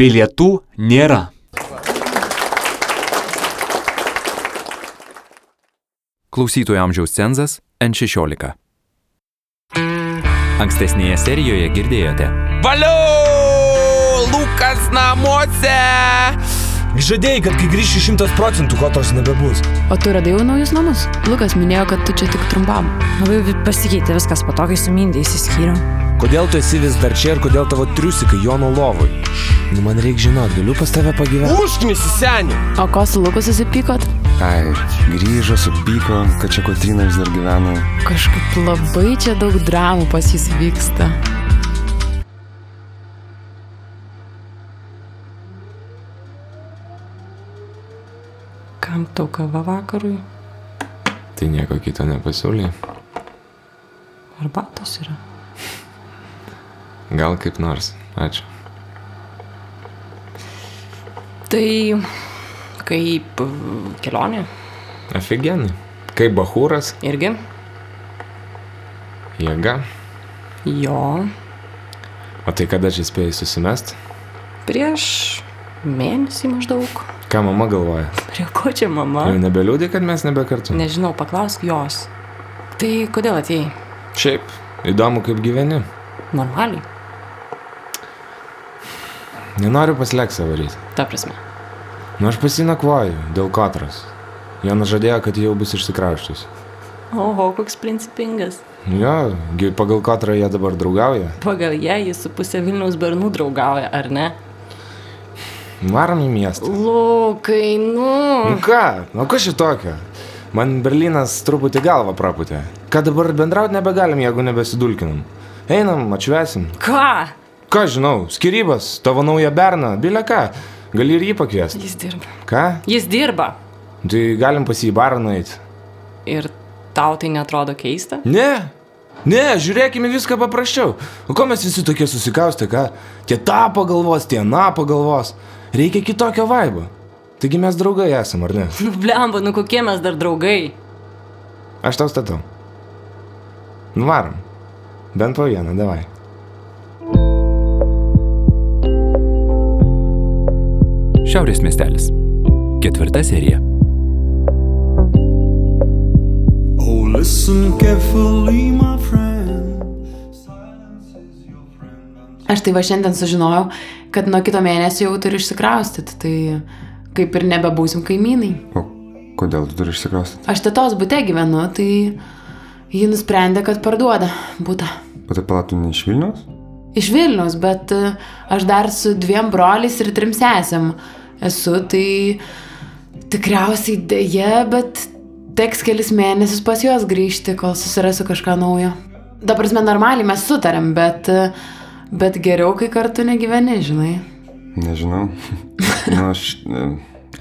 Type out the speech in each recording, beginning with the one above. Bilietų nėra. Klausytojų amžiaus cenzas N16. Ankstesnėje serijoje girdėjote. Valiau! Lukas namuose! Žadėjai, kad kai grįši šimtas procentų, ko tos nebebus. O tu radai jau naujus namus? Lukas minėjo, kad tu čia tik trumpam. Labai vi- pasikeitė viskas po to, kai su Mindė įsiskyriau. Kodėl tu esi vis dar čia ir kodėl tavo triusikai Jono lovui? Nu, man reikia žinot, galiu pas tave pagyventi. Užknisi senį! O ko su Luku susipykot? Ai, grįžo, supyko, kad čia Kotrina vis dar gyvena. Kažkaip labai čia daug dramų pas jis vyksta. Kam tau kava vakarui? Tai nieko kito nepasiūlė. Arbatos yra. Gal kaip nors. Ačiū. Tai kaip e, kelionė? Aфиgenai. Kaip bahūras, Irgi? jėga. Jo. O tai kada čia spėjai susimest? Prieš mėnesį maždaug. Ką mama galvoja? Prie ko čia mama? Jau nebeliūdė, kad mes nebekartu. Nežinau, paklausk jos. Tai kodėl atėjai? Šiaip, įdomu kaip gyveni. Normaliai. Nenoriu pasleksą varyti. Ta prasme. Nu aš pasinakvoju, dėl kotros. Jonas žadėjo, kad jau bus išsikrauštus. Oho, koks principingas. Nu Jo, gi pagal kotrą jie dabar draugauja. Pagal ją jis su pusė Vilniaus bernų draugauja, ar ne? Varom į miestą. Lukai, nu. Nu ką, nu kas šitokio? Man Berlynas truputį galvą praputė. Ką dabar bendrauti nebegalim, jeigu nebesidulkinam. Einam, atšvesim. Ką? Ką žinau, skirybas, tavo nauja berna, bilė ką. Gali ir jį pakviesti. Jis dirba. Ką? Jis dirba. Tai galim pas jį į barą nueiti. Ir tau tai netrodo keista? Ne, ne, žiūrėkime viską paprasčiau. O ko mes visi tokie susikausti, ką? Tie tą pagalvos, tie na pagalvos. Reikia kitokio vaibo. Taigi mes draugai esam, ar ne? Nu, blemba, nu kokie mes dar draugai. Aš tau statau. Nuvarom. Bent po vieną, davai. Šiaurės miestelis. Ketvirta serija. Oh, listen carefully, my friend. Aš tai va šiandien sužinojau, kad nuo kito mėnesio jau turiu išsikraustyti, tai kaip ir nebebūsim kaimynai. O kodėl tu turi išsikraustyti? Aš tėtos bute gyvenu, tai ji nusprendė, kad parduoda būtą. O tai palatų ne iš Vilnius? Iš Vilnius, bet e, aš dar su dviem broliais ir trim sesėm esu, tai tikriausiai dėje, bet teks kelis mėnesius pas juos grįžti, kol susirasiu kažką naujo. Dabar mes normaliai mes sutarėm, bet, e, bet geriau, kai kartu negyveni, žinai. Nežinau. nu, aš, e,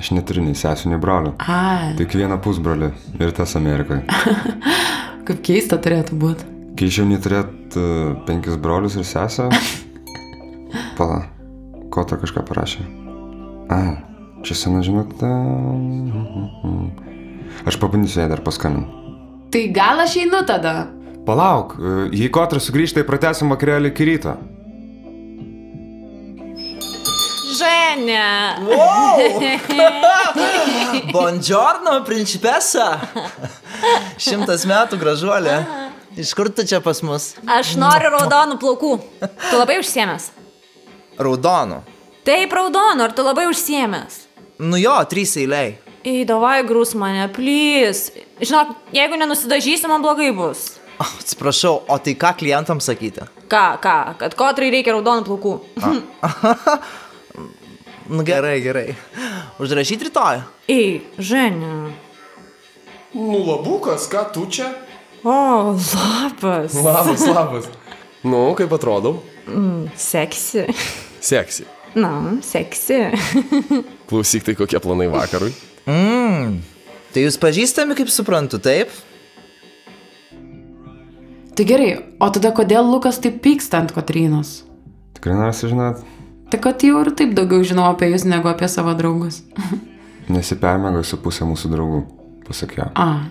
aš neturiu nei sesų, nei brolių. A, Tik vieną pusbrolį ir tas Amerikoje. kaip keista turėtų būti. Kai iš jaunį turėt e, penkis brolius ir sesę. Pala, ko to kažką parašė? Ai, čia sena žinutė. Aš pabandysiu ją dar paskambinti. Tai gal aš einu tada? Palauk, e, jei kotra sugrįžta, tai pratęsim vakarėlį iki ryto. Ženė. Buongiorno, principesa. Šimtas metų gražuolė. Iš kur tu čia pas mus? Aš noriu raudonų plaukų. Tu labai užsiemęs. Raudonų. Taip, raudonų, ar tu labai užsiemęs? Nu jo, trys eiliai. Įdavai grūs mane, plys. Žinok, jeigu nenusidažysi, man blogai bus. O, atsiprašau, o tai ką klientams sakyti? Ką, ką, kad kotrai reikia raudonų plaukų. Nu gerai, gerai. Užrašyti rytoj. Ei, Ženė. Nu, labukas, ką tu čia? O, lapas. Labas, labas. Nu, kaip atrodau? Seksi. Seksi. Na, seksi. Klausyk, tai kokie planai vakarui? Mmm. Tai jūs pažįstami, kaip suprantu, taip? Tai gerai, o tada kodėl Lukas taip pyksta ant Kotrynos? Tikrai nori sužinot? Tai kad jau ir taip daugiau žinau apie jūs negu apie savo draugus. Nesipermėgau su pusė mūsų draugų, pasakiau. A,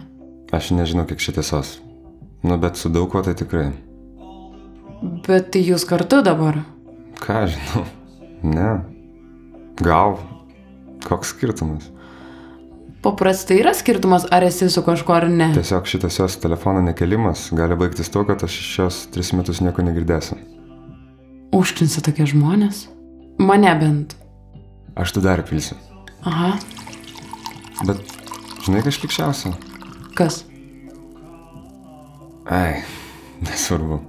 Aš nežinau, kiek čia tiesos. Nu, bet su daug ko tai tikrai. Bet tai jūs kartu dabar. Ką aš žinau? Ne. Gal. Koks skirtumas? Paprastai yra skirtumas, ar esi su kažkuo ar ne. Tiesiog šitas jos telefono nekelimas gali baigtis tuo, kad aš šios tris metus nieko negirdėsiu. Užkinsi tokie žmonės? Mane bent. Aš tu dar pilsiu. Aha, Bet, žinai, kažlikščiausia. kas? Ai, nesvarbu.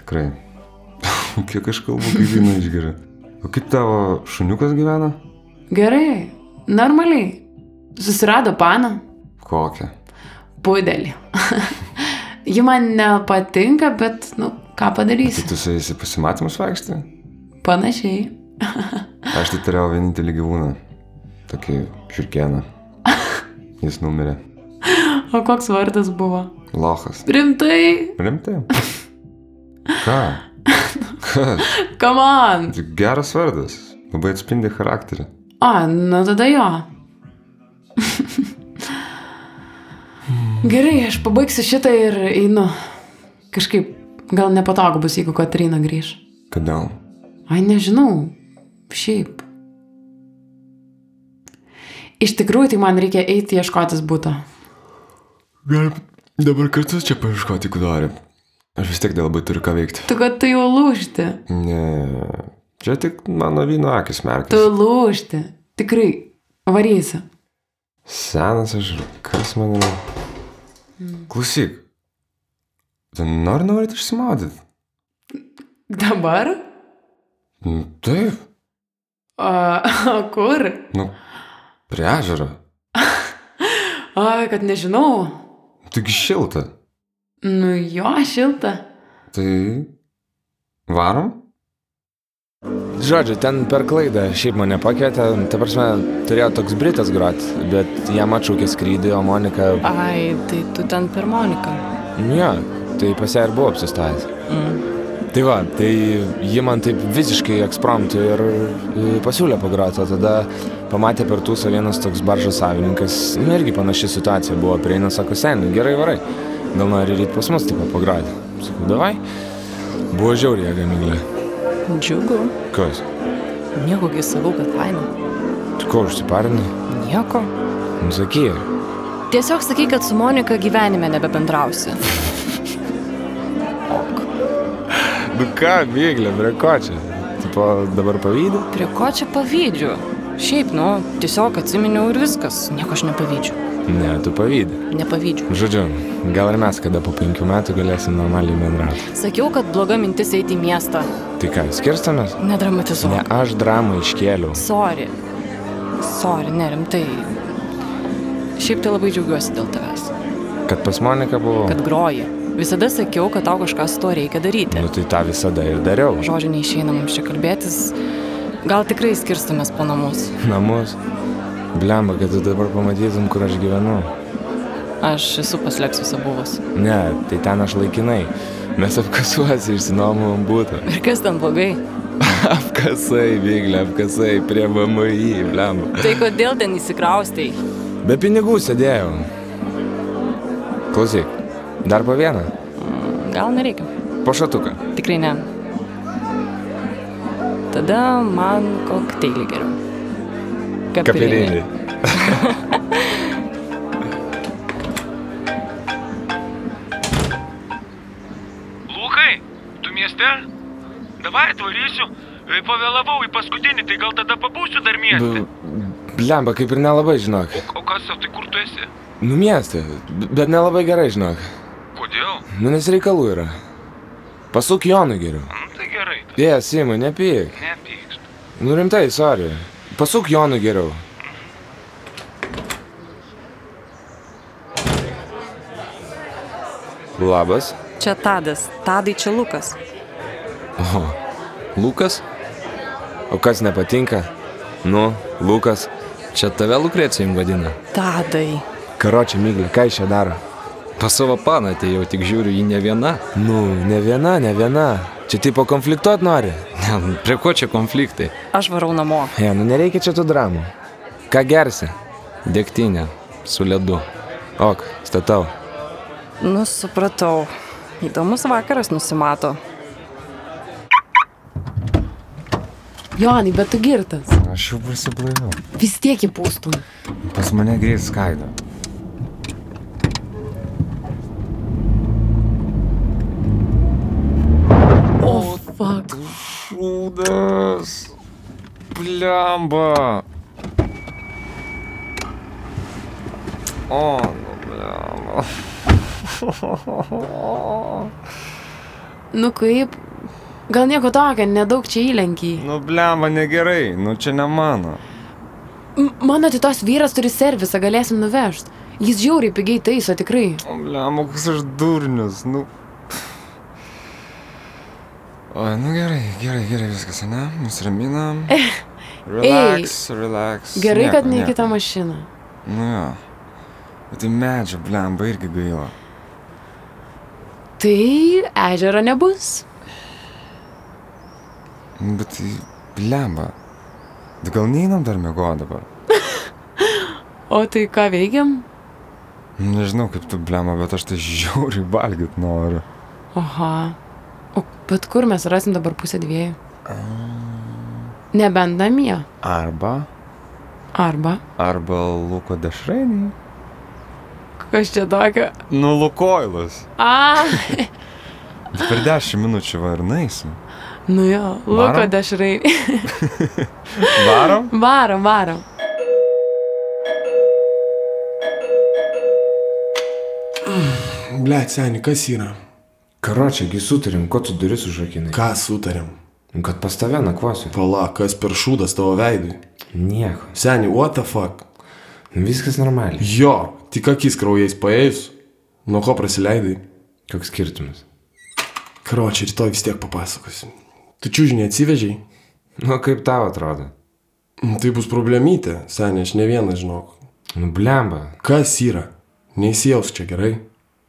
Tikrai. Kiek aš kalbu, kaip vyną išgeria. O kaip tavo šuniukas gyvena? Gerai, normaliai. Susirado paną, Kokią? pudelį. Ji man nepatinka, bet, nu, ką Tai padarysi? tu su jais į pasimatymus vaikšti? Panašiai. Aš tai turėjau vienintelį gyvūną. Tokį žiūrkėną. Jis numirė. O koks vardas buvo? Lochas. Rimtai, Rimtai? Ką? Kas? come on. Tai Geras vardas. Labai atspindi charakterį. A, nu tada jo. Gerai, aš pabaigsiu šitą ir einu. Kažkaip, gal nepatogu bus, jeigu Katrina grįž. Kodėl? Ai, nežinau. Šiaip. Iš tikrųjų, tai man reikia eiti ieškotis būtų. Galim dabar kartu čia paieškoti, kur nori. Aš vis tiek dar labai turiu ką veikti. Tu, kad tu jau lūšti. Ne. Čia tik mano vyno akis merkia. Tu lūšti. Tikrai. Varysi. Senas aš, ir kas man yra? Klausyk. Tu nori norit išsimaudyti? Dabar? Nu, Taip, O, o kur? nu, prie ežero. Oi, kad nežinau. Tik šilta. Nu jo, šilta. Tai varom? Žodžiu, ten per klaidą šiaip mane pakvietė, ta prasme, turėjo toks Britas grot, bet jam atšaukė skrydį, o Monika... Ai, tai tu ten per Moniką. Nu jo, tai pas ją ir buvo apsistojęs. Mm. Tai va, tai ji man taip visiškai ekspromptu ir e, pasiūlė pagroti, o tada pamatė per tūsą vienas toks baržas savininkas, nu irgi panaši situacija buvo, prieina, sako, seniai, gerai varai, gal nori ryt pas mus taip pagroti. Sakau, davai. Buvo žiauriai, gamyglė. Džiugu. Kas? Nieko, kai sakau, kad faina. Tu ko užsiparinai? Nieko. Nu sakyk. Tiesiog sakai, kad su Monika gyvenime nebebendrausi. Nu ką, myglė, prie ko čia? Tipo, dabar pavydė? Prie ko čia pavydžiu? Šiaip, nu, tiesiog atsiminiau ir viskas. Nieko aš nepavydžiu. Ne, tu pavydė. Nepavydžiu. Žodžiu, gal ir mes kada po penkių metų galėsim normaliai bendrauti. Sakiau, kad bloga mintis eiti į miestą. Tai ką, skirstamės? Nedramatizuok. Ne, aš dramą iškėliau. Sorry. Sorry, nerimtai. Šiaip tai labai džiaugiuosi dėl tavęs. Kad pas Moniką buvau. Kad groji. Visada sakiau, kad tau kažkas to reikia daryti. Nu tai tą visada ir dariau. Žodžiu, neišeina mums čia kalbėtis. Gal tikrai skirstamės po namus. Namus. Blemba, kad tu dabar pamatytum, kur aš gyvenu. Aš esu paslėpsiuose buvus. Ne, tai ten aš laikinai. Mes apkasuose išsinuomom būtų. Ir kas ten blogai? Apkasai, vyglė, apkasai, prie VMI, blemba. Tai kodėl ten įsikraustai? Be pinigų sėdėjau. Klausyk, dar po vieną. Gal nereikia. Po šatuką. Tikrai ne. Tada man kokteilį geriau. Kapirinį. Lukai, tu mieste? Davai atvarysiu. E, Pavėlavau į paskutinį, tai gal tada pabūsiu dar mieste. Blemba, kaip ir nelabai žinok. O kas, o tai kur tu esi? Nu miestė, bet nelabai gerai žinok. Kodėl? Nu nes reikalų yra. Pasuk Jonui geriau. Nu, tai gerai. Dėja, Simai, nepyk. Nepykst. Nu rimtai, sorry. Pasuk Jonui geriau. Labas. Čia Tadas. Tadai čia Lukas. O, Lukas? O kas nepatinka? Nu, Lukas. Čia tave Lukrecijum vadina. Tadai. Karočią myglį, ką jis čia daro? Pas savo paną atėjau, tik žiūriu, ji ne viena. Nu, ne viena, ne viena. Čia tipo konfliktuot nori. Ne, prie ko čia konfliktai? Aš varau namo. Ja, nu nereikia čia tų dramų. Ką gersi? Degtinė, su ledu. Ok, statau. Nu, supratau. Įdomus vakaras nusimato. Jonai, bet tu girtas. Aš jau prasiblaiviau. Vis tiek įpūstum. Pas mane greit skaido. O, Oh, fuck. Šūdas. Blemba. O, nu blemba. Nu kaip? Gal nieko tokio, nedaug čia įlenkiai. Nu blemba negerai, nu čia ne mano. M- Mano titos vyras turi servisą, galėsim nuvežti. Jis žiauriai pigiai taiso, tikrai. O blemba, koks aš durnius, nu. O, nu gerai, gerai, gerai viskas, ne? Nusiraminam. Relax, relax. Gerai, nieko, kad ne į nieko. kitą mašiną. Nu jo. Bet tai medžio blemba irgi gaila. Tai ežero nebus. Nu, Bet tai blemba. Tai gal neinam dar mėgo dabar? O tai ką veikiam? Nu, Nežinau kaip tu blema, bet aš tai žiauriai valgyt noriu. Oha. O bet kur mes rasim dabar pusę dviejų? Nebent namie. Arba. Arba. Arba Luko dešrainį. Kas čia tokio? Nu, Lukoilas. A. Bet Per 10 minučių va ir naisim. Nu jo, Luko Varom? dešrai. Varom? varom, varom. Ble, seniai, kas yra? Karočiagi sutarėm, ko tu duris užrakinai. Ką sutarėm? Kad pas tave nakvosiu. Pala, kas per šūdas tavo veidui? Nieko. Seniai, what the fuck? Viskas normaliai. Jo, tik akis kraujais paėjus. Nuo ko prasileidai? Koks skirtumas? Karočią, rytoj vis tiek papasakosiu. Tu čiūžinį atsivežiai? Nu, kaip tau atrodo? Tai bus problemytė, seniai, aš ne vieną žinok. Nu, blemba. Kas yra? Neįsijaus čia gerai.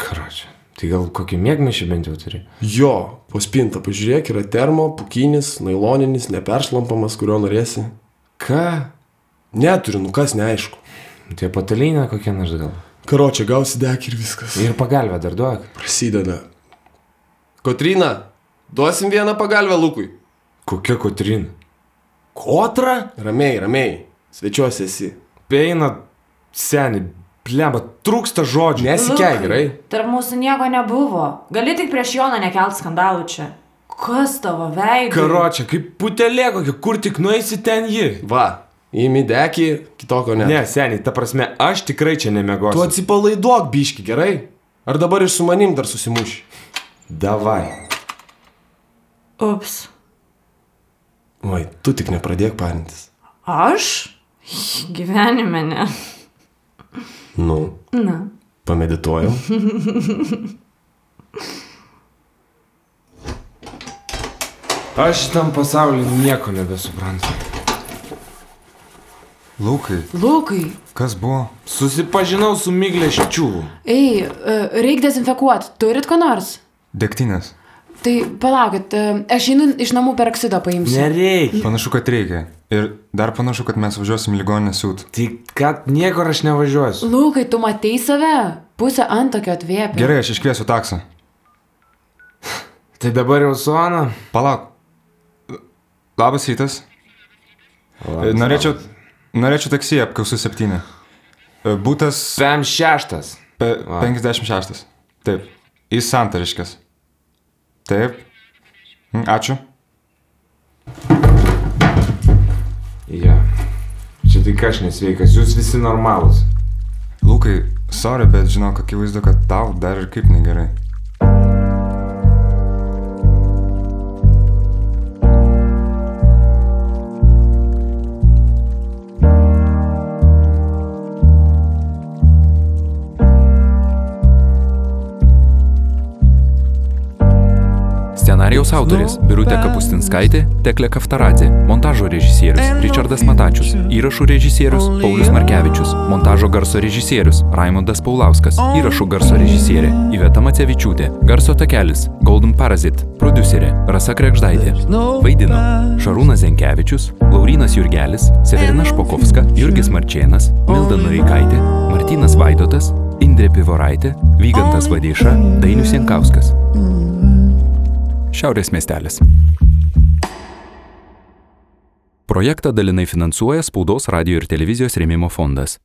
Karočią. Tai gal kokį mėgmaišį bent jau turi? Jo, po spintą pažiūrėk, yra termo, pukinis, nailoninis, neperšlampamas, kurio norėsi. Ką? Neturiu, nu kas neaišku. Nu, Tie patalynė kokie nors gal. Karočią, gausi dek ir viskas. Ir pagalbę dar duok. Prasideda. Kotrina, duosim vieną pagalbę Lukui. Kokia Kotrin? Kotra? Ramiai, ramiai. Svečiuosi esi. Peina, seniai, blemba, trūksta žodžių. Nesikei gerai. Tarp mūsų nieko nebuvo. Gali tik prieš Joną nekelt skandalų čia. Kas tavo veidas? Karočią, kaip putelė kokia, kur tik nueisi ten ji. Va, įmi dekį, kitokio ne. Ne, seniai, ta prasme, aš tikrai čia nemegosiu. Tu atsipalaiduok biški, gerai? Ar dabar ir su manim dar susimuši? Davai. Ups. Oi, tu tik nepradėk parintis. Aš? Gyvenime ne. Nu, Na. pamedituoju. Aš tam pasauliu nieko nebesuprantu. Lukai, Lukai, kas buvo? Susipažinau su Miglė Ščiūvu. ei, reikia dezinfekuoti. Turit ko nors? Dektinės. Tai palaukit, e, aš einu iš namų per oksidą paimsiu. Nereikia. Panašu, kad reikia. Ir dar panašu, kad mes važiuosim į ligoninę siūt. Tai kad niekur aš nevažiuosiu. Lukai, tu matei save? Pusę ant tokio atvėpė. Gerai, aš iškviesiu taksą. Tai dabar jau su Ana. Palauk. Labas rytas. E, Norėčiau, norėčiau taksi apkausų septynę. E, Būtas Pem šeštas. Pe- Va. 56. Taip. Į santariškas. Taip. Mm, Ačiū. Ja. Čia tik aš nesveikas, jūs visi normalūs. Lukai, sorry, bet žinau, akivaizdu, kad tau dar ir kaip negerai. Scenarijaus autoris - Birutė Kapustinskaitė, Teklė Kaftaradė, montažo režisierius - Richardas Matačius, įrašų režisierius - Paulius Markevičius, montažo garso režisierius - Raimondas Paulauskas, įrašų garso režisierė - Iveta Macevičiūtė, garso takelis - Golden Parasit, producerė - Rasa Krekždaitė, vaidino Šarūnas Zenkevičius, Laurinas Jurgelis, Severina Špokovska, Jurgis Marčėnas, Milda Nurikaitė, Martinas Vaidotas, Indrė Pivoraitė, Vygantas Vadėša, Dainius Jankauskas. Šiaurės miestelis. Projektą dalinai finansuoja Spaudos radio ir televizijos rėmimo fondas.